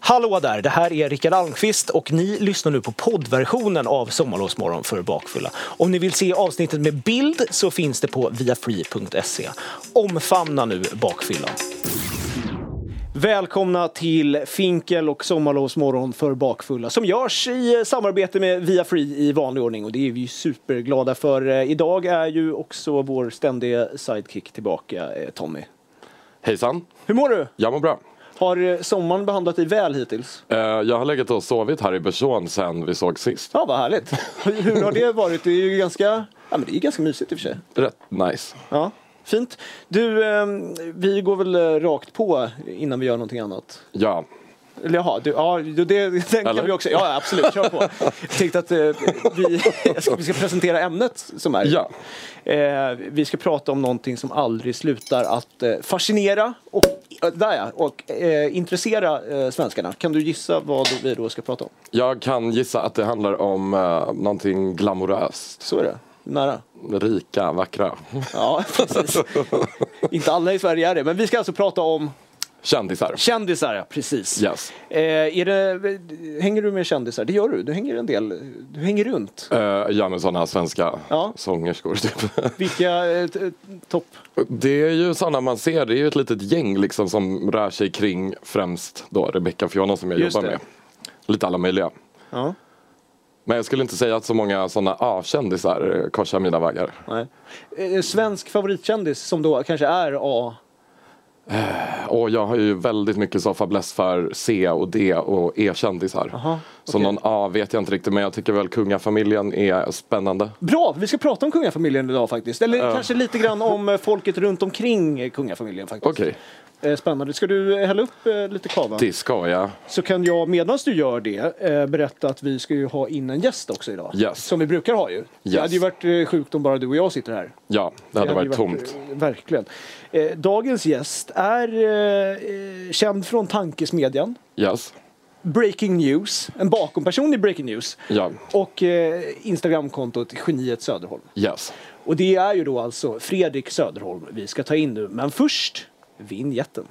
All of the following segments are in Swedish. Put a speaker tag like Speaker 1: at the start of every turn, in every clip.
Speaker 1: Hallå där, det här är Rickard Almqvist och ni lyssnar nu på poddversionen av Sommarlovsmorgon för bakfulla. Om ni vill se avsnittet med bild så finns det på viafree.se. Omfamna nu bakfyllan. Välkomna till Finkel och Sommarlovsmorgon för bakfulla som görs i samarbete med Viafree i vanlig ordning och det är vi ju superglada för. Idag är ju också vår ständiga sidekick tillbaka, eh, Tommy.
Speaker 2: Hejsan,
Speaker 1: Hur mår du?
Speaker 2: jag mår bra.
Speaker 1: Har eh, sommaren behandlat dig väl hittills?
Speaker 2: Eh, jag har legat och sovit här i Bersån sen vi såg sist.
Speaker 1: Ja, vad härligt. Hur har det varit? Det är ju ganska, ja, men det är ganska mysigt i och för sig.
Speaker 2: Rätt nice.
Speaker 1: Ja, fint. Du, eh, vi går väl eh, rakt på innan vi gör någonting annat.
Speaker 2: Ja,
Speaker 1: Eller jaha, du, ja, du, det den kan
Speaker 2: Eller?
Speaker 1: vi också. Ja, absolut, kör på. Jag tänkte att eh, vi, jag ska, vi ska presentera ämnet som är.
Speaker 2: ja.
Speaker 1: Eh, vi ska prata om någonting som aldrig slutar att eh, fascinera och, eh, där ja, och eh, intressera eh, svenskarna. Kan du gissa vad vi då ska prata om?
Speaker 2: Jag kan gissa att det handlar om eh, någonting glamoröst.
Speaker 1: Så är det. Nära.
Speaker 2: Rika, vackra.
Speaker 1: Ja, precis. Inte alla i Sverige är det, men vi ska alltså prata om
Speaker 2: Kändisar.
Speaker 1: kändisar. ja, Precis.
Speaker 2: Yes.
Speaker 1: Eh, är det, hänger du med kändisar? Det gör du. Du hänger en del. Du hänger runt.
Speaker 2: Eh, ja men sådana svenska
Speaker 1: Ja.
Speaker 2: sångerskor typ.
Speaker 1: Vilka eh, t- topp...
Speaker 2: Det är ju sådana man ser, det är ju ett litet gäng liksom som rör sig kring främst då Rebecca Fiona som jag
Speaker 1: Just
Speaker 2: jobbar
Speaker 1: det.
Speaker 2: med. Lite alla möjliga.
Speaker 1: Ja,
Speaker 2: Men jag skulle inte säga att så många sådana A-kändisar eh, korsar mina vägar.
Speaker 1: nej. Eh, svensk favoritkändis som då kanske är A.
Speaker 2: Och jag har ju väldigt mycket så fäbless för C och D och E-kändisar.
Speaker 1: Aha,
Speaker 2: Så
Speaker 1: okej.
Speaker 2: någon A vet jag inte riktigt men jag tycker väl kungafamiljen är spännande.
Speaker 1: Bra! Vi ska prata om kungafamiljen idag faktiskt. Eller
Speaker 2: Ja.
Speaker 1: kanske lite grann om eh, folket runt omkring eh, kungafamiljen faktiskt.
Speaker 2: Okej,
Speaker 1: Eh, spännande. Ska du eh, hälla upp eh, lite kava?
Speaker 2: det ska jag.
Speaker 1: Så kan jag medan du gör det eh, berätta att vi ska ju ha in en gäst också idag.
Speaker 2: Yes.
Speaker 1: Som vi brukar ha ju. Det
Speaker 2: Yes.
Speaker 1: hade ju varit eh, sjukt om bara du och jag sitter här.
Speaker 2: Ja, det hade varit tomt.
Speaker 1: eh, Verkligen. Eh, dagens gäst är eh, eh, känd från Tankesmedjan,
Speaker 2: Yes,
Speaker 1: Breaking News, en bakomperson i Breaking News
Speaker 2: ja,
Speaker 1: och eh, Instagramkontot Geniet Söderholm.
Speaker 2: yes.
Speaker 1: Och det är ju då alltså Fredrik Söderholm vi ska ta in nu. Men först vinjetten.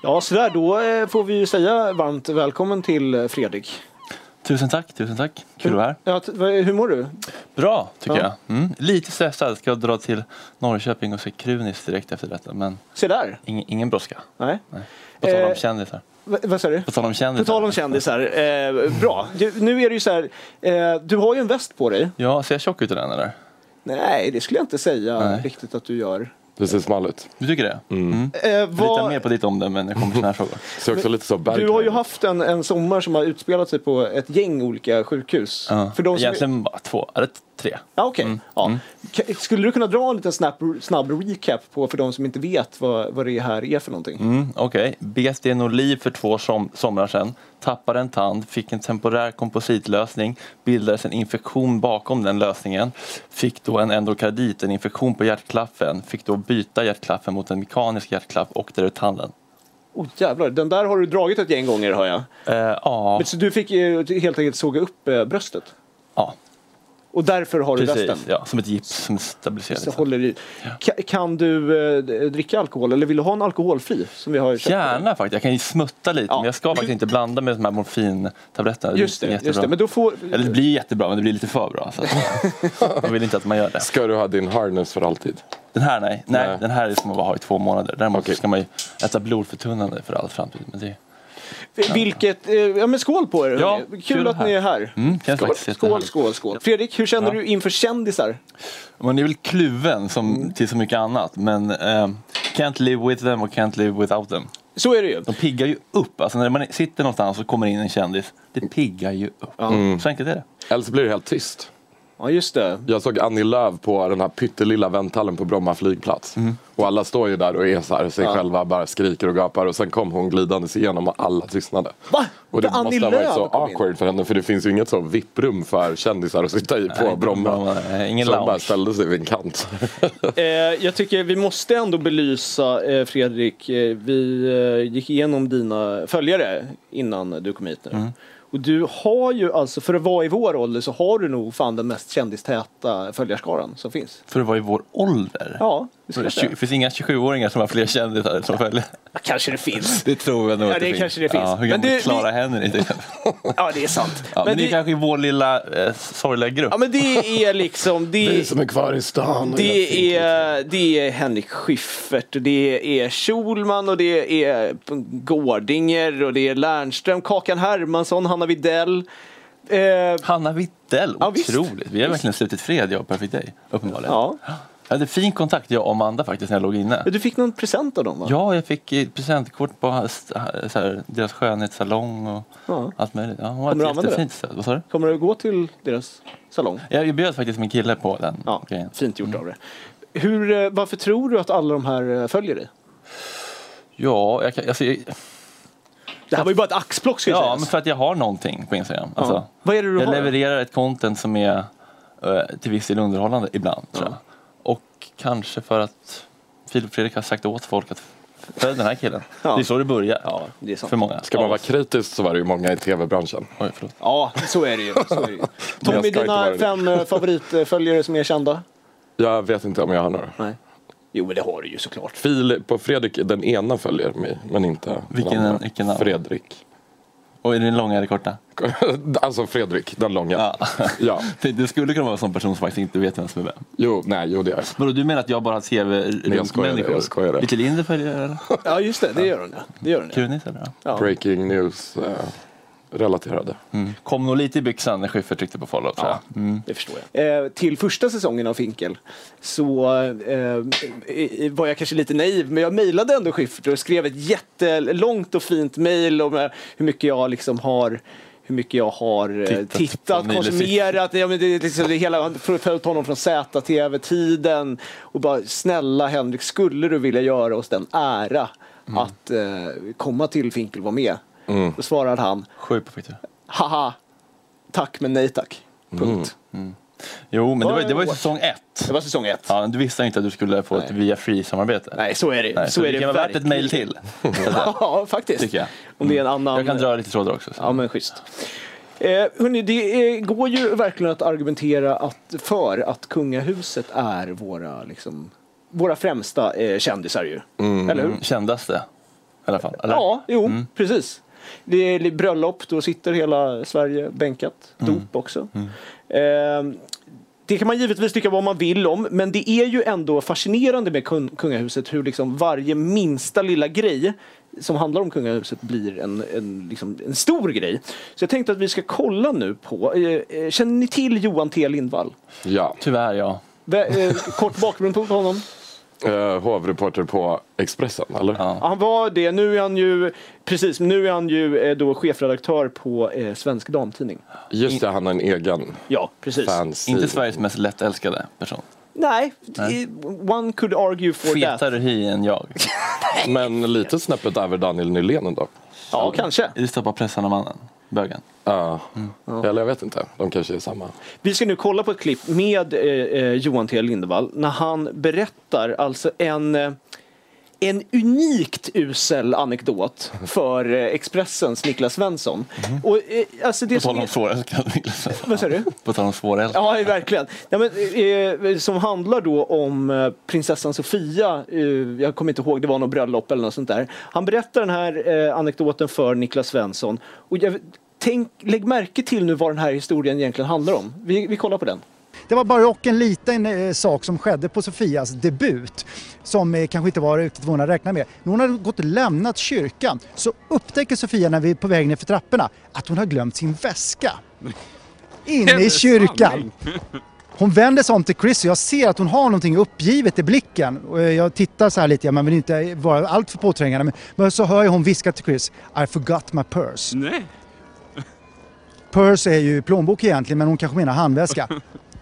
Speaker 1: Ja, sådär, då eh, får vi ju säga varmt välkommen till eh, Fredrik.
Speaker 3: Tusen tack, tusen tack. Kul att vara här.
Speaker 1: Ja, t- vad- hur mår du?
Speaker 3: Bra, tycker
Speaker 1: Ja.
Speaker 3: jag. Mm. Lite stressad. Ska jag dra till Norrköping och se Krunis direkt efter detta. Men
Speaker 1: Se där!
Speaker 3: ingen, ingen brådska.
Speaker 1: Nej.
Speaker 3: Nej. På tal om
Speaker 1: Eh.
Speaker 3: kändisar.
Speaker 1: Va, vad sa du?
Speaker 3: På tal om kändisar.
Speaker 1: På tal om kändisar, eh, bra. Du, nu är det ju så här, eh, du har ju en väst på dig.
Speaker 3: Ja, ser jag tjock ut i den eller?
Speaker 1: Nej, det skulle jag inte säga
Speaker 3: Nej.
Speaker 1: riktigt att du gör.
Speaker 2: Du ser smal ut.
Speaker 3: Du tycker det? Mm.
Speaker 1: Eh,
Speaker 3: Jag litar
Speaker 1: vad,
Speaker 3: mer på ditt omdöme när det kommer till sådana här frågor.
Speaker 2: Ser också lite så berg.
Speaker 1: du har ju haft en, en sommar som har utspelat sig på ett gäng olika sjukhus.
Speaker 3: Ja. Mm.
Speaker 1: För de som,
Speaker 3: Egentligen bara två, eller tre.
Speaker 1: ja, okej. ja. Ka- Skulle du kunna dra en liten snabb, snabb recap på för de som inte vet vad, vad det här är för någonting?
Speaker 3: Mm, Okej, bet i en oliv för två som somrar sedan, tappade en tand, fick en temporär kompositlösning, bildades en infektion bakom den lösningen, fick då en endokardit, en infektion på hjärtklaffen, fick då byta hjärtklaffen mot en mekanisk hjärtklaff och dra ut tanden.
Speaker 1: Oh, jävlar, den där har du dragit ett gäng gånger hör jag.
Speaker 3: Eh, Ja,
Speaker 1: Men Så du fick eh, helt enkelt såga upp eh, bröstet.
Speaker 3: ja,
Speaker 1: Och därför har du västen.
Speaker 3: precis. Ja, som ett gips som stabiliserar.
Speaker 1: Så
Speaker 3: liksom.
Speaker 1: håller i. Ka- Kan du eh, d- dricka alkohol eller vill du ha en alkoholfri? Som vi har köpt?
Speaker 3: Gärna faktiskt, jag kan ju smutta lite
Speaker 1: Ja.
Speaker 3: men jag ska faktiskt inte blanda med de här morfintabletterna. är
Speaker 1: Just
Speaker 3: inte
Speaker 1: det, just
Speaker 3: jättebra.
Speaker 1: det. Men då får...
Speaker 3: Eller det blir ju jättebra men det blir lite för bra. Så att man vill inte att man gör det.
Speaker 2: Ska du ha din harness för alltid?
Speaker 3: Den här nej. nej.
Speaker 2: Nej.
Speaker 3: Den här är som att bara ha i två månader. Däremot
Speaker 2: Okej.
Speaker 3: ska man ju äta blodförtunnande för all framtid. Men det,
Speaker 1: Vilket... eh, Ja men skål på er!
Speaker 3: Ja,
Speaker 1: hörni. Kul,
Speaker 3: kul
Speaker 1: att ni är här.
Speaker 3: mm, känns
Speaker 2: Skål.
Speaker 3: faktiskt
Speaker 1: Skål,
Speaker 3: jättehärligt.
Speaker 1: skål, skål. Fredrik, hur känner
Speaker 3: Ja.
Speaker 1: du inför kändisar?
Speaker 3: Man är väl kluven som, till så mycket annat. Men eh, can't live with them och can't live without them.
Speaker 1: Så är det ju.
Speaker 3: De piggar ju upp. Alltså när man sitter någonstans och kommer in en kändis. Det piggar ju upp. Så enkelt är det.
Speaker 2: Eller så blir det helt tyst.
Speaker 1: Ja, just det. Mm.
Speaker 2: Jag såg Annie Lööf på den här pyttelilla vänthallen på Bromma flygplats. Och alla står ju där och är så här, sig själva, bara skriker och gapar. Och sen kom hon glidandes igenom och alla tystnade.
Speaker 1: Va?
Speaker 2: Och det
Speaker 1: För Annie
Speaker 2: måste ha varit
Speaker 1: Lööf
Speaker 2: så
Speaker 1: kom in.
Speaker 2: awkward för henne för det finns ju inget så vipprum för kändisar att sitta i på
Speaker 3: inte
Speaker 2: Bromma.
Speaker 3: Bromma, nej, ingen
Speaker 2: så de
Speaker 3: lounge.
Speaker 2: bara ställde sig vid en kant.
Speaker 1: Eh, jag tycker vi måste ändå belysa, eh, Fredrik, eh, vi eh, gick igenom dina följare innan du kom hit nu. Och du har ju alltså, för att vara i vår ålder så har du nog fan den mest kändistäta följarskaran som finns.
Speaker 3: För att vara i vår ålder.
Speaker 1: Ja, det skulle
Speaker 3: det
Speaker 1: jag säga.
Speaker 3: finns inga 27-åringar som har fler kändisar som följer.
Speaker 1: Kanske det finns.
Speaker 3: Det tror jag nog
Speaker 1: Ja,
Speaker 3: att
Speaker 1: det kanske det finns.
Speaker 3: Ja, hur
Speaker 1: Men
Speaker 3: gammal
Speaker 1: det-
Speaker 3: är Clara
Speaker 1: vi-
Speaker 3: Henry? till exempel?
Speaker 1: Ja, det är sant.
Speaker 3: Ja, men,
Speaker 1: men,
Speaker 3: det är
Speaker 1: det,
Speaker 3: kanske i vår lilla eh, sorgliga grupp.
Speaker 1: ja, men det är liksom...
Speaker 2: Vi
Speaker 1: Det,
Speaker 2: som är kvar i stan. och jag
Speaker 1: det,
Speaker 2: tänker-
Speaker 1: är, det är Henrik Schiffert, och det är Schulman och det är Gårdinger och det är Lernström, Kakan Hermansson, Hanna Widell. Eh,
Speaker 3: Hanna Wittell,
Speaker 1: Ja, visst.
Speaker 3: otroligt. Vi har verkligen slutit fred, jag och Perfect Day, uppenbarligen.
Speaker 1: Ja.
Speaker 3: Jag hade fin kontakt, jag och Amanda faktiskt, när jag låg inne.
Speaker 1: Men Du fick någon present av dem va?
Speaker 3: Ja, jag fick ett presentkort på hans- så här, deras skönhetssalong och
Speaker 1: Ja.
Speaker 3: allt möjligt. Ja, hon var
Speaker 1: Kommer du
Speaker 3: ett
Speaker 1: använda
Speaker 3: jättefint stöd. Vad sa du?
Speaker 1: Kommer du gå till deras salong?
Speaker 3: Jag bjöd faktiskt min kille på den
Speaker 1: Ja,
Speaker 3: grejen.
Speaker 1: fint gjort av
Speaker 3: Mm.
Speaker 1: det. Hur, eh, varför tror du att alla de här eh, följer dig?
Speaker 3: Ja, jag kan, alltså, jag,
Speaker 1: Det här var ju bara ett axplock ska
Speaker 3: ja
Speaker 1: ja,
Speaker 3: men
Speaker 1: sägas.
Speaker 3: för att jag har någonting på Instagram. Alltså,
Speaker 1: Ja. Vad är det du
Speaker 3: jag
Speaker 1: har?
Speaker 3: levererar ett content som är eh, till viss del underhållande ibland. Tror jag. Och kanske för att Filip Fredrik har sagt åt folk att följ den här killen.
Speaker 1: Ja.
Speaker 3: Det är så det börjar. Ja,
Speaker 1: det är sant.
Speaker 3: För många.
Speaker 2: Ska man
Speaker 3: Ja.
Speaker 2: vara kritisk så var det ju många i tv-branschen.
Speaker 3: Oj, förlåt.
Speaker 1: Ja, så är det ju. Så är det ju.
Speaker 2: jag
Speaker 1: Tommy,
Speaker 2: ska inte
Speaker 1: dina
Speaker 2: vara det.
Speaker 1: fem eh, favoritföljare som är kända?
Speaker 2: Jag vet inte om jag har några.
Speaker 1: Nej. Jo, men det har du ju såklart.
Speaker 2: Filip och Fredrik, den ena följer mig men inte
Speaker 3: Vilken-
Speaker 2: den andra.
Speaker 3: vilken av dem?
Speaker 2: Fredrik.
Speaker 3: Och är det långa eller korta?
Speaker 2: alltså Fredrik, den långa. Ja.
Speaker 3: Ja. Det, det skulle kunna vara en sån person som faktiskt inte vet vem som är vem.
Speaker 2: Jo, nej, jo det gör jag.
Speaker 3: Vadå, du menar att jag bara
Speaker 2: Nej, jag skojar, jag skojar.
Speaker 3: CV-människor? Lite Linder följer jag, eller?
Speaker 1: Ja, just det. Det gör hon. ja. Det gör hon. ja.
Speaker 3: Kunis eller?
Speaker 1: Ja.
Speaker 2: Breaking news eh, relaterade.
Speaker 3: Mm. Kom nog lite i byxan när Schyffert tryckte på follow tror jag.
Speaker 1: Det förstår jag. Eh, till första säsongen av Finkel så eh, eh, var jag kanske lite naiv men jag mejlade ändå Schyffert och skrev ett jättelångt och fint mejl om eh, hur mycket jag liksom har hur mycket jag har eh,
Speaker 3: Tittat på
Speaker 1: tittat,
Speaker 3: Nile
Speaker 1: konsumerat, ja, men det, är liksom det hela, följt honom från ZTV-tiden och bara snälla Henrik, skulle du vilja göra oss den ära
Speaker 3: Mm.
Speaker 1: att eh, komma till Finkel och vara med? Då svarade han,
Speaker 3: Sju på Twitter.
Speaker 1: haha, tack men nej tack.
Speaker 3: Mm.
Speaker 1: Punkt.
Speaker 3: Jo, men det var,
Speaker 1: Vad-
Speaker 3: det var ju säsong ett.
Speaker 1: Det var säsong ett.
Speaker 3: Ja, men du visste ju inte att du skulle få ett
Speaker 1: Nej.
Speaker 3: via free-samarbete.
Speaker 1: Nej, så är det.
Speaker 3: Nej,
Speaker 1: så,
Speaker 3: så
Speaker 1: är det
Speaker 3: kan vara värt ett
Speaker 1: verkligen.
Speaker 3: mejl till.
Speaker 1: Ja, faktiskt.
Speaker 3: Tycker jag. Mm.
Speaker 1: Om det är en annan...
Speaker 3: Jag kan dra lite trådar också.
Speaker 1: Ja,
Speaker 3: Så.
Speaker 1: men schysst. Eh, hörni, det eh, går ju verkligen att argumentera att, för att kungahuset är våra, liksom, våra främsta eh, kändisar ju.
Speaker 3: Mm.
Speaker 1: Eller hur?
Speaker 3: Kändaste, i alla fall. Eller?
Speaker 1: Ja, jo, precis. Det är li- bröllop, då sitter hela Sverige bänkat. Dop också. Ehm, det kan man givetvis tycka vad man vill om, men det är ju ändå fascinerande med kun- kungahuset hur liksom varje minsta lilla grej som handlar om kungahuset blir en, en, liksom, en stor grej. Så jag tänkte att vi ska kolla nu på, eh, eh, känner ni till Johan T Lindvall?
Speaker 2: Ja.
Speaker 3: Tyvärr, ja.
Speaker 1: Vä- eh, kort bakgrund på honom.
Speaker 2: Eh, hovreporter på Expressen, eller?
Speaker 3: Ja.
Speaker 1: Han var det. Nu är han ju, precis, nu är han ju eh, då chefredaktör på eh, Svensk Damtidning.
Speaker 2: Just det, han har en egen
Speaker 1: Ja, precis.
Speaker 2: fans.
Speaker 3: Inte Sveriges mest lättälskade person.
Speaker 1: Nej, i- one could argue for that.
Speaker 3: Fetare hy än jag.
Speaker 2: Men lite snäppet över Daniel Nylén ändå.
Speaker 1: Ja, kanske.
Speaker 3: Är det stoppa pressarna mannen? Bögen?
Speaker 2: Ja.
Speaker 1: Mm.
Speaker 2: Eller jag vet inte, de kanske är samma.
Speaker 1: Vi ska nu kolla på ett klipp med eh, eh, Johan T Lindevall när han berättar alltså en, eh, en unikt usel anekdot för eh, Expressens Niklas Svensson. Och, eh, alltså det
Speaker 3: Mhm. På
Speaker 1: som
Speaker 3: tal om
Speaker 1: är,
Speaker 3: svårälskad, Niklas.
Speaker 1: vad säger du?
Speaker 3: På tal om svårälskad.
Speaker 1: Ja, verkligen. Nej, men, eh, som handlar då om eh, prinsessan Sofia. Eh, jag kommer inte ihåg, det var något bröllop eller något sånt där. Han berättar den här eh, anekdoten för Niklas Svensson. Och jag, tänk, lägg märke till nu vad den här historien egentligen handlar om. Vi, vi kollar på den.
Speaker 4: Det var bara och en liten eh, sak som skedde på Sofias debut som eh, kanske inte var riktigt vad hon hade räknat med. När hon hade gått och lämnat kyrkan så upptäcker Sofia när vi är på väg ner för trapporna att hon har glömt sin väska. Inne i kyrkan. Hon vänder sig om till Chris och jag ser att hon har någonting uppgivet i blicken. Och, eh, Jag tittar så här lite, man vill inte vara alltför påträngande men- men så hör jag hon viska till Chris I forgot my purse.
Speaker 5: Nej.
Speaker 4: Purse är ju plånbok egentligen, men hon kanske menar handväska.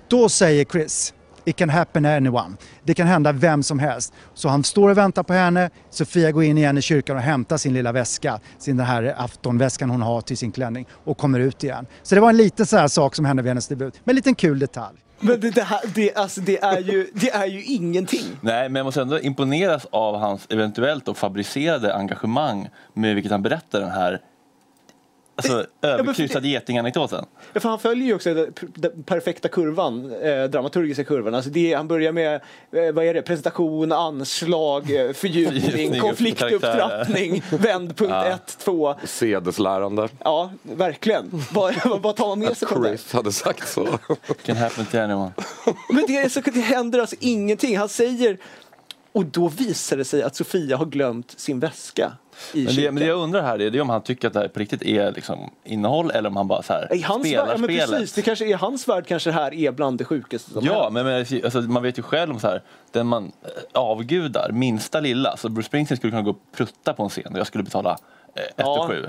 Speaker 4: Då säger Chris, It can happen anyone. Det kan hända vem som helst. Så han står och väntar på henne. Sofia går in igen i kyrkan och hämtar sin lilla väska, sin den här aftonväskan hon har till sin klänning och kommer ut igen. Så det var en liten så här sak som hände vid hennes debut, men en liten kul detalj.
Speaker 1: Men det, det, här, det, alltså, det, är ju, det är ju ingenting.
Speaker 3: Nej, men jag måste ändå imponeras av hans eventuellt och fabricerade engagemang med vilket han berättar den här alltså, överkryssade getinganekdoten.
Speaker 1: Ja, för han följer ju också den den perfekta kurvan, eh, dramaturgiska kurvan. Alltså det, han börjar med eh, vad är det, presentation, anslag, eh, fördjupning,
Speaker 3: Fördjupning,
Speaker 1: konfliktupptrappning, vändpunkt 1, 2.
Speaker 2: Sedeslärande.
Speaker 1: Ja, verkligen. Vad vad tar man med sig från det?
Speaker 2: Chris hade sagt så.
Speaker 3: Can happen to anyone.
Speaker 1: Men det, är så, det händer alltså ingenting. Han säger... Och då visar det sig att Sofia har glömt sin väska i
Speaker 3: Men det,
Speaker 1: kyrkan.
Speaker 3: men det jag undrar här är, det är om han tycker att det här på riktigt är liksom innehåll eller om han bara så här,
Speaker 1: I hans
Speaker 3: spelar
Speaker 1: värld, ja, men
Speaker 3: spelet.
Speaker 1: precis, det kanske, I hans värld kanske det här är bland det sjukaste som
Speaker 3: Ja,
Speaker 1: hänt.
Speaker 3: men, men alltså, man vet ju själv om så här, den man eh, avgudar, minsta lilla. Så Bruce Springsteen skulle kunna gå och prutta på en scen och jag skulle betala eh, ett
Speaker 1: Ja.
Speaker 3: och sju.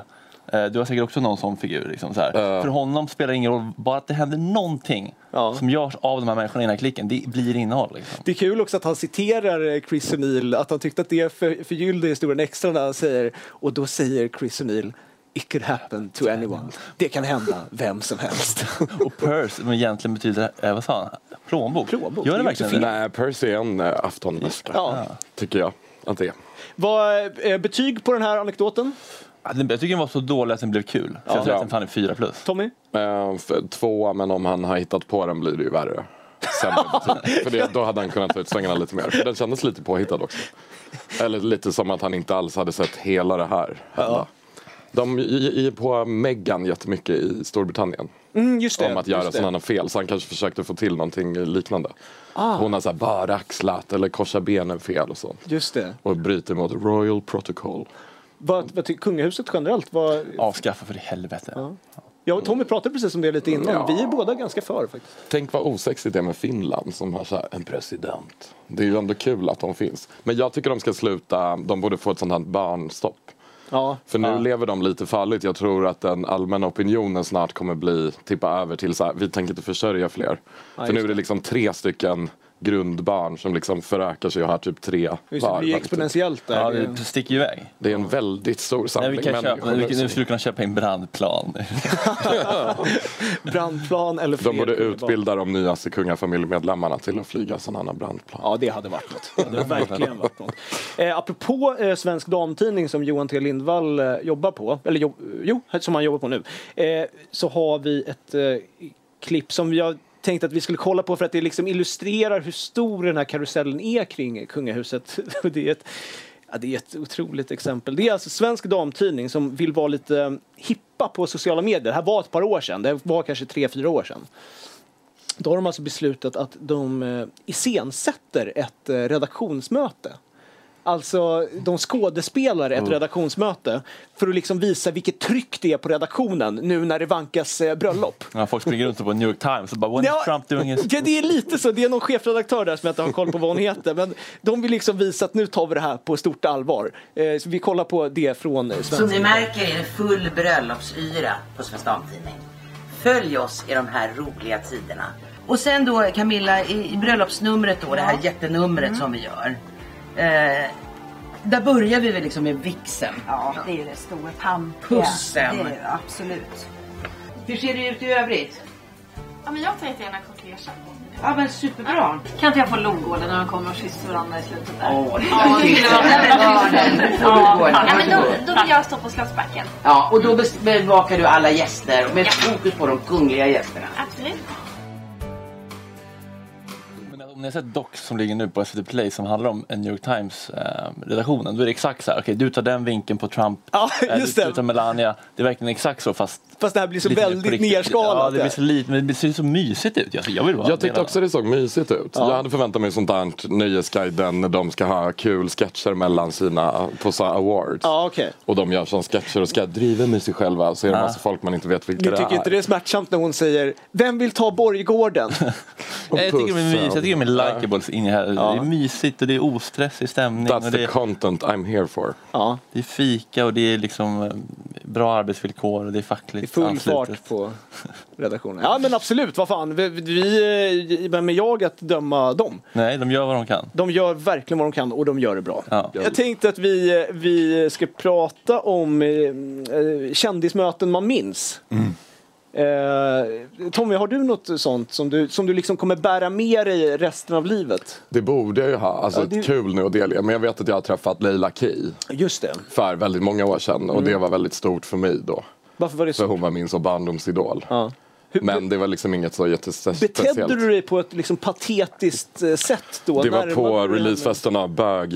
Speaker 3: Eh, du har säkert också någon sån figur. Liksom, så här. För honom spelar det ingen roll, bara att det händer någonting
Speaker 1: Ja.
Speaker 3: som görs av de här människorna i den här klicken, det blir innehåll. Liksom.
Speaker 1: Det är kul också att han citerar eh, Chris O'Neill, att han tyckte att det för, förgyllde historien extra när han säger, och då säger Chris O'Neill It could happen to anyone. Det kan hända vem som helst.
Speaker 3: Och purse, men egentligen betyder, eh, vad sa han, plånbok?
Speaker 1: Plånbok,
Speaker 3: Gör
Speaker 1: det
Speaker 3: det
Speaker 1: är också
Speaker 3: verkligen det?
Speaker 2: Nej, Percy är en eh, aftonväska.
Speaker 1: Ja.
Speaker 2: Tycker jag att det är.
Speaker 1: Vad eh, betyg på den här anekdoten,
Speaker 3: Ja, den- Jag tycker den var så dålig att den blev kul. Så jag tror att den fan är fyra plus.
Speaker 1: Tommy?
Speaker 2: Eh, för- Tvåa, men om han har hittat på den blir det ju värre. Sämre betyg. För det, då hade han kunnat ta ut svängarna lite mer. För den kändes lite påhittad också. Eller lite som att han inte alls hade sett hela det här hända. De är på Meghan jättemycket i Storbritannien.
Speaker 1: Mm, just det.
Speaker 2: om att
Speaker 1: just
Speaker 2: göra
Speaker 1: det.
Speaker 2: sådana fel. Så han kanske försökte få till någonting liknande.
Speaker 1: Ah.
Speaker 2: Hon har så här bara axlat eller korsat benen fel och sånt.
Speaker 1: Just det.
Speaker 2: Och bryter mot Royal Protocol.
Speaker 1: Vad, vad tycker kungahuset generellt? Vad,
Speaker 3: Avskaffa för i helvete.
Speaker 1: jag och Tommy pratade precis om det lite innan.
Speaker 2: Ja.
Speaker 1: Vi är båda ganska för faktiskt.
Speaker 2: Tänk vad osexigt det är med Finland som har så här, en president. Det är ju ändå kul att de finns. Men jag tycker de ska sluta, de borde få ett sånt här barnstopp.
Speaker 1: Ja.
Speaker 2: För nu lever de lite farligt. Jag tror att den allmänna opinionen snart kommer bli, tippa över till så här, vi tänker inte försörja fler. för nu
Speaker 1: just
Speaker 2: är det liksom tre stycken grundbarn som liksom förökar sig och har typ tre
Speaker 1: Just det, det blir ju exponentiellt där.
Speaker 3: Ja, det sticker ju iväg.
Speaker 2: Det är en väldigt stor
Speaker 3: Nej,
Speaker 2: samling
Speaker 3: vi kan köpa,
Speaker 2: människor.
Speaker 3: vi, nu skulle vi kunna köpa in brandplan.
Speaker 1: Brandplan eller fler
Speaker 2: de borde
Speaker 1: kungabarn.
Speaker 2: utbilda de nyaste kungafamiljemedlemmarna till att flyga sådana här brandplan.
Speaker 1: Ja, det hade varit något. Det hade verkligen varit något. Eh, apropå eh, Svensk Damtidning som Johan T Lindvall eh, jobbar på, eller jobb, jo, som han jobbar på nu, eh, så har vi ett eh, klipp som jag tänkte att vi skulle kolla på för att det liksom illustrerar hur stor den här karusellen är kring kungahuset. Och det är ett, ja, det är ett otroligt exempel. Det är alltså Svensk Damtidning som vill vara lite eh, hippa på sociala medier. Det här var ett par år sedan, det var kanske tre, fyra år sedan. Då har de alltså beslutat att de eh, iscensätter ett eh, redaktionsmöte. Alltså, de skådespelar
Speaker 3: Mm.
Speaker 1: ett redaktionsmöte för att liksom visa vilket tryck det är på redaktionen nu när det vankas eh, bröllop.
Speaker 3: Ja, folk springer runt på New York Times och bara “When
Speaker 1: Ja,
Speaker 3: is Trump doing his...”
Speaker 1: Ja, det är lite så. Det är någon chefredaktör där som jag inte har koll på vad hon heter. Men de vill liksom visa att nu tar vi det här på stort allvar. Eh, så vi kollar på det från eh,
Speaker 5: Som ni
Speaker 1: svenska.
Speaker 5: märker är det full bröllopsyra på Svensk Damtidning. Följ oss i de här roliga tiderna. Och sen då Camilla, i i bröllopsnumret då, det här jättenumret som vi gör. Eh, där börjar vi väl liksom med vixen.
Speaker 6: Ja, det är ju det stora pampiga.
Speaker 5: Pussen.
Speaker 6: Det är det, absolut.
Speaker 5: Hur ser det ut i övrigt?
Speaker 7: Ja, men jag tar jättegärna kortegen.
Speaker 5: Ja men superbra.
Speaker 7: Kan inte jag få lodgården när de kommer och kysser varandra i slutet där?
Speaker 5: Åh, det
Speaker 7: Ja, det skulle vara väldigt mysigt. Ja, men då,
Speaker 5: ja,
Speaker 7: då vill jag stå på Slottsbacken.
Speaker 5: ja, och då bes- bevakar du alla gäster med fokus på de kungliga gästerna.
Speaker 7: Absolut.
Speaker 3: Men Om ni har sett Docs som ligger nu på SVT Play som handlar om eh, New York Times-redaktionen, då är det exakt så här. Okej, du tar den vinkeln på Trump,
Speaker 1: Ja,
Speaker 3: eh,
Speaker 1: just
Speaker 3: du,
Speaker 1: det.
Speaker 3: du tar Melania. Det är verkligen exakt så fast...
Speaker 1: Fast det här blir så
Speaker 3: lite mer på
Speaker 1: väldigt
Speaker 3: riktigt.
Speaker 1: nerskalat.
Speaker 3: Ja, det blir så lite, men det ser så mysigt ut. Alltså, jag, vill vara
Speaker 2: Jag
Speaker 3: del
Speaker 2: tyckte
Speaker 3: av
Speaker 2: också det såg mysigt ut. Jag hade förväntat mig sånt där Nöjesguiden när de ska ha kul sketcher mellan sina på så här awards.
Speaker 1: Ja, okej.
Speaker 2: Och de gör sån sketcher och ska driva med sig själva så är det massa folk man inte vet vilka
Speaker 1: Ni
Speaker 2: det
Speaker 1: tycker
Speaker 2: är.
Speaker 1: inte det är smärtsamt när hon säger Vem vill ta Borggården?
Speaker 2: Och
Speaker 3: Nej, Jag tycker de är
Speaker 2: pussen.
Speaker 3: mysiga, jag tycker de är likeable så in i här. Det är mysigt och det är ostressig stämning.
Speaker 2: That's
Speaker 3: Och det,
Speaker 2: the
Speaker 3: är,
Speaker 2: content I'm here for.
Speaker 1: Ja,
Speaker 3: det är fika och det är liksom eh, bra arbetsvillkor och det
Speaker 1: det
Speaker 3: är
Speaker 1: är
Speaker 3: fackligt
Speaker 1: full
Speaker 3: anslutet.
Speaker 1: fart på redaktionen. Ja men absolut, vad fan. Vi, vi, vem är jag att döma dem?
Speaker 3: Nej, de gör vad de kan.
Speaker 1: De gör verkligen vad de kan och de gör det bra.
Speaker 3: Ja.
Speaker 1: Jag tänkte att vi, vi ska prata om eh, eh, kändismöten man minns.
Speaker 2: Mm.
Speaker 1: Eh, Tommy, har du något sånt som du, som du liksom kommer bära med dig resten av livet?
Speaker 2: Det borde jag ju ha. Alltså
Speaker 1: Ja, det-
Speaker 2: kul nu att delge. Men jag vet att jag har träffat Leila Key
Speaker 1: Just det.
Speaker 2: för väldigt många år sedan. Och det var väldigt stort för mig då.
Speaker 1: Varför var det
Speaker 2: För
Speaker 1: så?
Speaker 2: hon var min så barndomsidol.
Speaker 1: Ja. Hur-
Speaker 2: Men det var liksom inget så jättespeciellt.
Speaker 1: Betedde du dig på ett liksom patetiskt eh, sätt då?
Speaker 2: Det var
Speaker 1: Närmade
Speaker 2: på
Speaker 1: du dig
Speaker 2: releasefesten av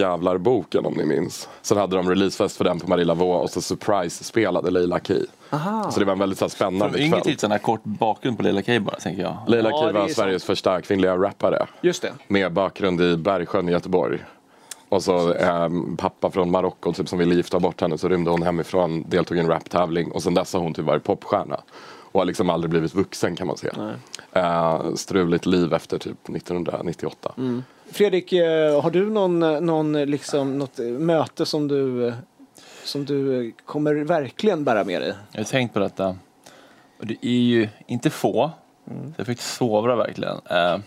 Speaker 2: Bögjävlar-boken om ni minns. Sen hade de releasefest för den på Marie Laveau och så surprise-spelade Leila Key. Så det var en väldigt så här,
Speaker 3: De
Speaker 2: spännande
Speaker 3: yngre
Speaker 2: kväll.
Speaker 3: tittarna har kort bakgrund på Leila Kay bara, tänker jag.
Speaker 2: Leila
Speaker 1: Ja,
Speaker 2: Key
Speaker 1: det är
Speaker 2: var
Speaker 1: sant.
Speaker 2: Sveriges första kvinnliga rappare.
Speaker 1: henne? Just det.
Speaker 2: Med bakgrund i Bergsjön i Göteborg. Och så eh, pappa från Marocko typ, som ville gifta bort henne så rymde hon hemifrån, deltog i en raptävling och sen dess har hon typ varit popstjärna. Och har liksom aldrig blivit vuxen kan man säga. Eh, struligt liv efter typ 1998.
Speaker 3: Mm.
Speaker 1: Fredrik, eh, har du någon, någon liksom, något eh, möte som du, eh, som du eh, kommer verkligen bära med dig?
Speaker 3: Jag har tänkt på detta. Och det är ju inte få.
Speaker 1: Mm.
Speaker 3: Så jag fick sovra verkligen. Eh,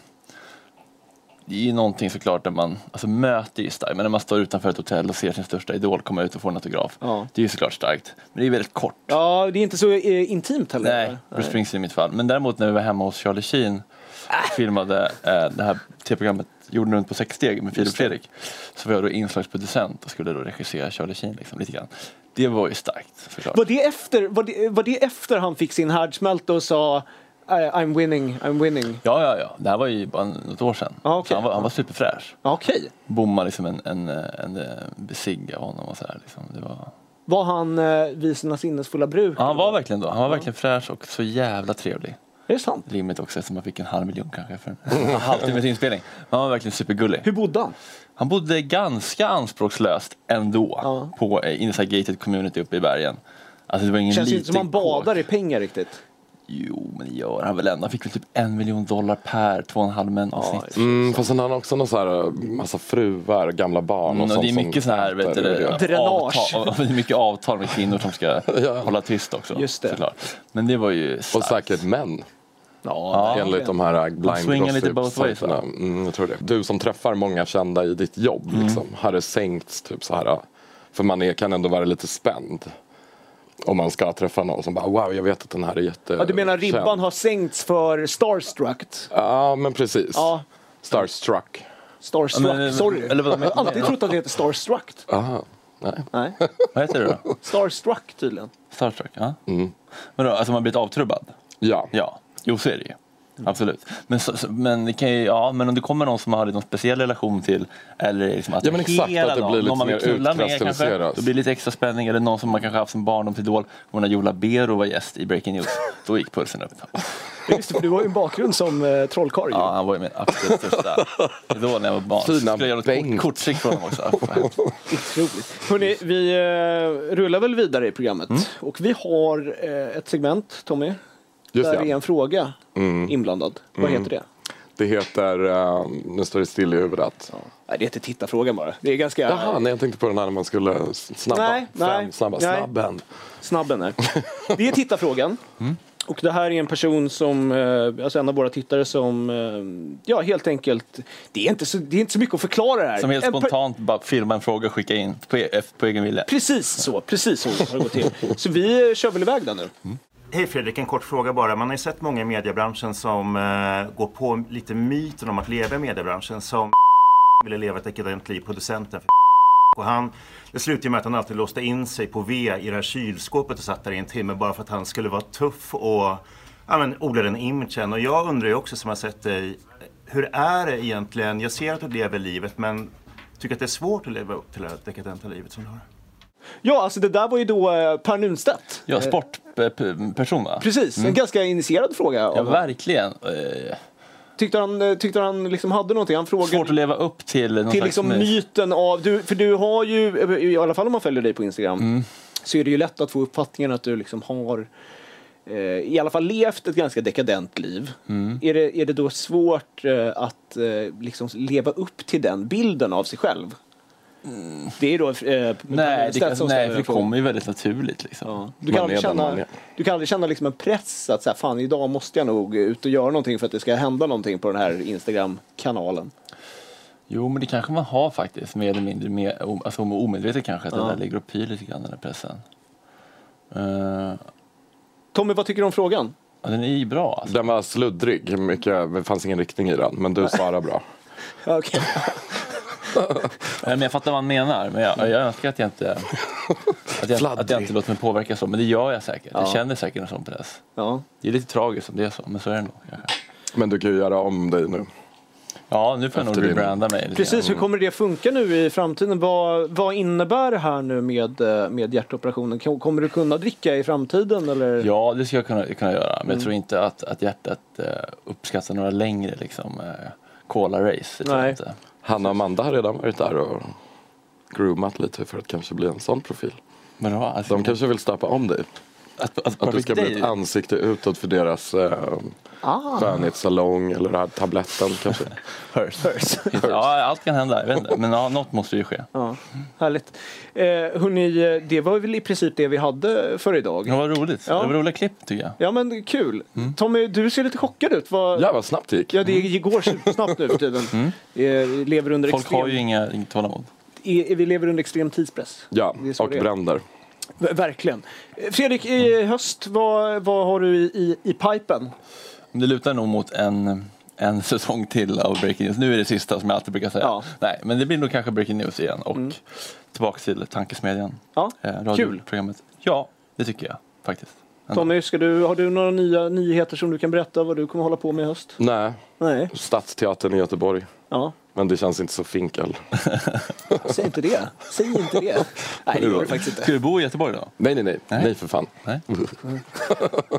Speaker 3: det är ju någonting såklart där man, alltså möte är ju starkt, men när man står utanför ett hotell och ser sin största idol komma ut och få en autograf.
Speaker 1: Ja.
Speaker 3: Det är ju såklart starkt, men det är väldigt kort.
Speaker 1: Ja, det är inte så eh, intimt heller.
Speaker 3: Nej, Bruce Springsteen i mitt fall. Men däremot när vi var hemma hos Charlie Sheen och filmade eh, det här tv-programmet Jorden runt på sex steg med Filip Fredrik. Så var jag då inslagsproducent och skulle då regissera Charlie Sheen liksom, lite grann. Det var ju starkt såklart.
Speaker 1: Var det efter, var det, var det efter han fick sin härdsmälta och sa "I- I'm winning, I'm winning?
Speaker 3: Ja, ja, ja. Det här var ju bara något år sedan.
Speaker 1: Ja, okej.
Speaker 3: Så han, var, han var superfräsch.
Speaker 1: Ja, Okej.
Speaker 3: Bommade liksom en, en, eh, en, en besig av honom och sådär. Liksom. Det var...
Speaker 1: Var han eh, vid sina sinnesfulla bruk?
Speaker 3: ja, han var verkligen då. Han var verkligen fräsch och så jävla trevlig.
Speaker 1: Är det sant?
Speaker 3: Rimligt också eftersom man fick en halv miljon kanske för en halvtimmes inspelning. Men han var verkligen supergullig.
Speaker 1: Hur bodde han?
Speaker 3: Han bodde ganska anspråkslöst ändå
Speaker 1: Ja.
Speaker 3: på eh, Inside Gated Community uppe i bergen. Alltså det var ingen
Speaker 1: Känns ju
Speaker 3: liten
Speaker 1: inte som han
Speaker 3: kåk.
Speaker 1: badar i pengar riktigt.
Speaker 3: Jo, men det gör han väl ändå. Han fick väl typ en miljon dollar per två och en halv män avsnitt.
Speaker 2: Mm, fast sen har han också någon så här eh, massa fruar, gamla barn och
Speaker 3: Mm, och
Speaker 2: sånt
Speaker 3: det är mycket
Speaker 2: som
Speaker 3: så här, vet du,
Speaker 2: äter det.
Speaker 3: det,
Speaker 1: Dränage.
Speaker 3: avtal, det är mycket avtal med kvinnor som ska hålla tyst också.
Speaker 1: Just det.
Speaker 3: Såklart. Men det var ju
Speaker 2: Och
Speaker 3: starkt.
Speaker 2: säkert män.
Speaker 3: Ja,
Speaker 2: Enligt de här eh, blind
Speaker 3: swingar lite
Speaker 2: gossip
Speaker 3: both ways,
Speaker 2: sajterna.
Speaker 3: va?
Speaker 2: mm, jag tror det. Du som träffar många kända i ditt jobb
Speaker 3: Mm.
Speaker 2: liksom, hade sänkts typ så här. eh, För man är, kan ändå vara lite spänd. Om man ska träffa någon som bara wow jag vet att den här är jätte...
Speaker 1: Ja, du menar ribban
Speaker 2: känd."
Speaker 1: har sänkts för starstruck?
Speaker 2: Ja men precis.
Speaker 1: Ja.
Speaker 2: Starstruck.
Speaker 1: Starstruck,
Speaker 3: Ja, men-
Speaker 1: sorry.
Speaker 3: eller vad-
Speaker 1: jag har alltid trott att det heter starstruck.
Speaker 2: Aha. Nej.
Speaker 1: Nej,
Speaker 3: Vad heter det då?
Speaker 1: starstruck tydligen.
Speaker 3: Star Trek? Ja.
Speaker 2: Mm.
Speaker 3: Men då, alltså man blivit avtrubbad?
Speaker 2: Ja.
Speaker 3: Ja, jo så är det ju. Absolut. Men, så, så, men, det kan ju, ja, men om det kommer någon som man har någon speciell relation till eller är liksom att
Speaker 2: Ja, men exakt, att det
Speaker 3: någon,
Speaker 2: blir lite
Speaker 3: någon man vill
Speaker 2: mer
Speaker 3: knulla med kanske,
Speaker 2: utkristalliserat.
Speaker 3: då blir det lite extra spänning eller någon som man kanske haft som barndomsidol. Och när Jola Bero var gäst i Breaking News, då gick pulsen upp.
Speaker 1: Ja, Just det, för du har ju en bakgrund som eh, trollkarl. ju.
Speaker 3: Ja, han var ju min absolut största idol när jag var barn.
Speaker 2: Fina
Speaker 3: Så skulle jag göra något kort,
Speaker 2: Bengt.
Speaker 3: korttrick från honom också.
Speaker 1: Otroligt. Hörrni, vi eh, rullar väl vidare i programmet.
Speaker 3: Mm.
Speaker 1: Och vi har eh, ett segment, Tommy,
Speaker 2: Just
Speaker 1: där
Speaker 2: ja.
Speaker 1: det är en fråga
Speaker 3: Mm.
Speaker 1: inblandad. Vad heter det?
Speaker 2: Det heter, eh, nu står det still i huvudet.
Speaker 1: Nej, det heter tittarfrågan bara. Det är ganska
Speaker 2: Jaha, nej jag tänkte på den här när man skulle s- snabba.
Speaker 1: Nej,
Speaker 2: Fem
Speaker 1: nej,
Speaker 2: snabba.
Speaker 1: nej.
Speaker 2: Snabben.
Speaker 1: snabb den är. Det är tittarfrågan. Och det här är en person som, eh, alltså en av våra tittare som, eh, ja helt enkelt, det är inte så, det är inte så mycket att förklara det här.
Speaker 3: Som helt
Speaker 1: En per-
Speaker 3: spontant bara filma en fråga och skicka in på, e- på egen vilja.
Speaker 1: Precis så, precis så har det gått till. Så vi eh, kör väl iväg den nu.
Speaker 8: Hej Fredrik, en kort fråga bara. Man har ju sett många i mediebranschen som eh, går på lite myten om att leva i mediebranschen som ville leva ett dekadent liv, producenten för och han, det slutade ju med att han alltid låste in sig på V i det här kylskåpet och satt där i en timme bara för att han skulle vara tuff och ja, men, odla den imagen. Och jag undrar ju också som har sett dig, hur är det egentligen? Jag ser att du lever livet men tycker att det är svårt att leva upp till det här dekadenta livet som du har?
Speaker 1: Ja, alltså det där var ju då eh, Per Nunstedt. Eh,
Speaker 3: Ja, sportperson va?
Speaker 1: Precis, en ganska initierad fråga. av
Speaker 3: Ja,
Speaker 1: honom.
Speaker 3: verkligen. Eh,
Speaker 1: Tyckte han, eh, tyckte han liksom hade någonting? Han frågade
Speaker 3: Svårt att leva upp till någon
Speaker 1: till
Speaker 3: slags
Speaker 1: liksom
Speaker 3: myt.
Speaker 1: myten av, du, för du har
Speaker 3: Mm.
Speaker 1: ju, i alla fall om man följer dig på Instagram, så är det ju lätt att få uppfattningen att du liksom har eh, i alla fall levt ett ganska dekadent liv.
Speaker 3: Mm.
Speaker 1: Är, det, är det då svårt eh, att eh, liksom leva upp till den bilden av sig själv? Det är då eh,
Speaker 3: Mm. Nej, det,
Speaker 1: Stetsons
Speaker 3: kan, nej, för
Speaker 1: ställer
Speaker 3: det
Speaker 1: på.
Speaker 3: kommer ju väldigt naturligt liksom.
Speaker 1: Du kan,
Speaker 2: Man
Speaker 1: aldrig
Speaker 2: är den man
Speaker 1: känna,
Speaker 2: är.
Speaker 1: du kan aldrig känna liksom en press att så här, fan idag måste jag nog ut och göra någonting för att det ska hända någonting på den här Instagram-kanalen.
Speaker 3: Jo, men det kanske man har faktiskt, mer eller mindre med, o- alltså om- omedvetet kanske, att det där ligger och pyr lite grann, den där pressen. Eh,
Speaker 1: Tommy, vad tycker du om frågan?
Speaker 3: ja, den är ju bra alltså.
Speaker 2: Den var sluddrig, mycket, det fanns ingen riktning i den. Men du svarar bra.
Speaker 1: Okay.
Speaker 3: Eh, Men jag fattar vad han menar, men jag, jag önskar att jag inte att jag, att jag inte låter mig påverka så, men det gör jag säkert. Jag känner säkert en sån press.
Speaker 1: Ja.
Speaker 3: Det är lite tragiskt om det är så, men så är det nog. kanske.
Speaker 2: Men du kan ju göra om dig nu.
Speaker 3: Ja, nu får jag nog
Speaker 2: Efter din-
Speaker 3: rebranda mig lite
Speaker 1: Precis, hur kommer det funka nu i framtiden? Vad, vad innebär det här nu med, eh, med hjärtoperationen? Kan- Kommer du kunna dricka i framtiden? Eller?
Speaker 3: Ja, det ska jag kunna, kunna göra.
Speaker 1: Mm.
Speaker 3: Men jag tror inte att, att hjärtat eh, uppskattar några längre liksom, eh, cola-race. Det tror
Speaker 1: Nej.
Speaker 3: jag inte.
Speaker 2: Hanna och Amanda har redan varit där och groomat lite för att kanske bli en sån profil.
Speaker 3: Men då, alltså,
Speaker 2: De kanske vill stöpa om dig.
Speaker 3: att, att,
Speaker 2: Att du ska bli ett
Speaker 3: an...
Speaker 2: ansikte utåt för deras eh,
Speaker 1: Ah,
Speaker 2: skönhetssalong eller den här tabletten kanske.
Speaker 3: Hers. Ja, allt kan hända. Jag vet inte. Men ja, något måste ju ske.
Speaker 1: Ja, härligt. Eh, hörni, eh, det var väl i princip det vi hade för idag.
Speaker 3: Det var roligt.
Speaker 1: Ja.
Speaker 3: Det var roliga klipp tycker jag.
Speaker 1: Ja, men kul. Tommy, du ser lite chockad ut. Vad,
Speaker 2: Ja, vad snabbt det gick.
Speaker 1: Ja, det går supersnabbt nu för tiden. Eh, lever under
Speaker 3: Folk
Speaker 1: extrem,
Speaker 3: har ju inga, inget tålamod.
Speaker 1: eh, vi lever under extrem tidspress.
Speaker 2: Ja,
Speaker 1: Det är så
Speaker 2: och
Speaker 1: det är.
Speaker 2: bränder.
Speaker 1: Ver- Verkligen. Eh, Fredrik, i höst, vad, vad har du i, i, i pipen?
Speaker 3: Men Det lutar nog mot en, en säsong till av Breaking News. Nu är det sista som jag alltid brukar säga.
Speaker 1: Ja.
Speaker 3: Nej, men det blir nog kanske Breaking News igen och tillbaka till Tankesmedjan.
Speaker 1: Ja,
Speaker 3: Eh,
Speaker 1: kul.
Speaker 3: radioprogrammet. Ja, det tycker jag faktiskt. Ändå.
Speaker 1: Tommy, ska du, har du några nya nyheter som du kan berätta vad du kommer hålla på med i höst?
Speaker 2: Nej,
Speaker 1: Nej.
Speaker 2: Stadsteatern i Göteborg.
Speaker 1: Ja.
Speaker 2: Men det känns inte så finkel.
Speaker 1: Säg inte det. Säg inte det. Nej, det gör du faktiskt inte.
Speaker 3: Ska du bo i Göteborg då?
Speaker 2: Nej, nej, nej. Nej, för fan.
Speaker 3: Nej.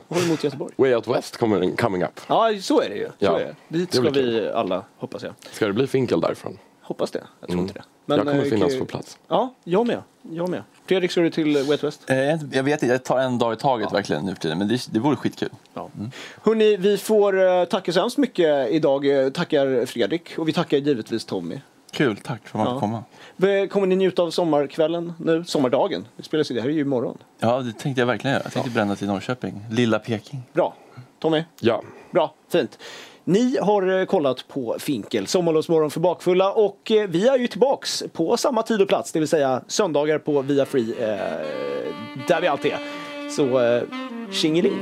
Speaker 1: Håll emot Göteborg.
Speaker 2: Way Out West coming, coming up.
Speaker 1: Ja, så är det ju. Så
Speaker 2: Ja.
Speaker 1: är det. Dit
Speaker 2: Det
Speaker 1: ska
Speaker 2: blir kul.
Speaker 1: vi alla, hoppas jag.
Speaker 2: Ska det bli finkel därifrån?
Speaker 1: Hoppas det. Jag tror inte det.
Speaker 2: Mm. jag kommer
Speaker 1: eh,
Speaker 2: finnas
Speaker 1: kul.
Speaker 2: på plats.
Speaker 1: Ja, jag med. Jag med. Fredrik, ska du till Wet West?
Speaker 3: Eh, jag- jag vet inte, jag tar en dag i taget verkligen nu för tiden. Men det, det vore skitkul.
Speaker 1: Ja. Hörni, vi får eh, tacka så hemskt mycket idag. Eh, Tackar Fredrik och vi tackar givetvis Tommy.
Speaker 3: Kul, tack för att man
Speaker 1: Ja.
Speaker 3: fick komma.
Speaker 1: V- Kommer ni njuta av sommarkvällen nu? Sommardagen? Det spelas ju, det här är ju imorgon.
Speaker 3: Ja, det tänkte jag verkligen göra. Jag tänkte bränna till Norrköping. Lilla Peking.
Speaker 1: Bra. Tommy?
Speaker 2: Ja,
Speaker 1: Bra, fint. Ni har eh, kollat på Finkel, Sommarlovsmorgon för bakfulla och eh, vi är ju tillbaks på samma tid och plats, det vill säga söndagar på Via Free, eh, där vi alltid är. Så eh, tjingeling!